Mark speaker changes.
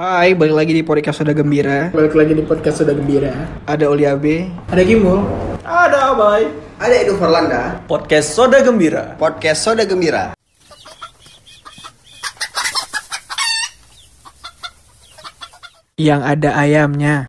Speaker 1: Hai, balik lagi di podcast Soda Gembira.
Speaker 2: Balik lagi di podcast Sudah Gembira
Speaker 1: Ada Oli Abe.
Speaker 2: Ada Gimul
Speaker 3: Ada Abai
Speaker 4: Ada Edo Forlanda,
Speaker 3: Podcast Eh, Soda Gembira
Speaker 4: podcast Soda Gembira.
Speaker 1: Yang ada ayamnya.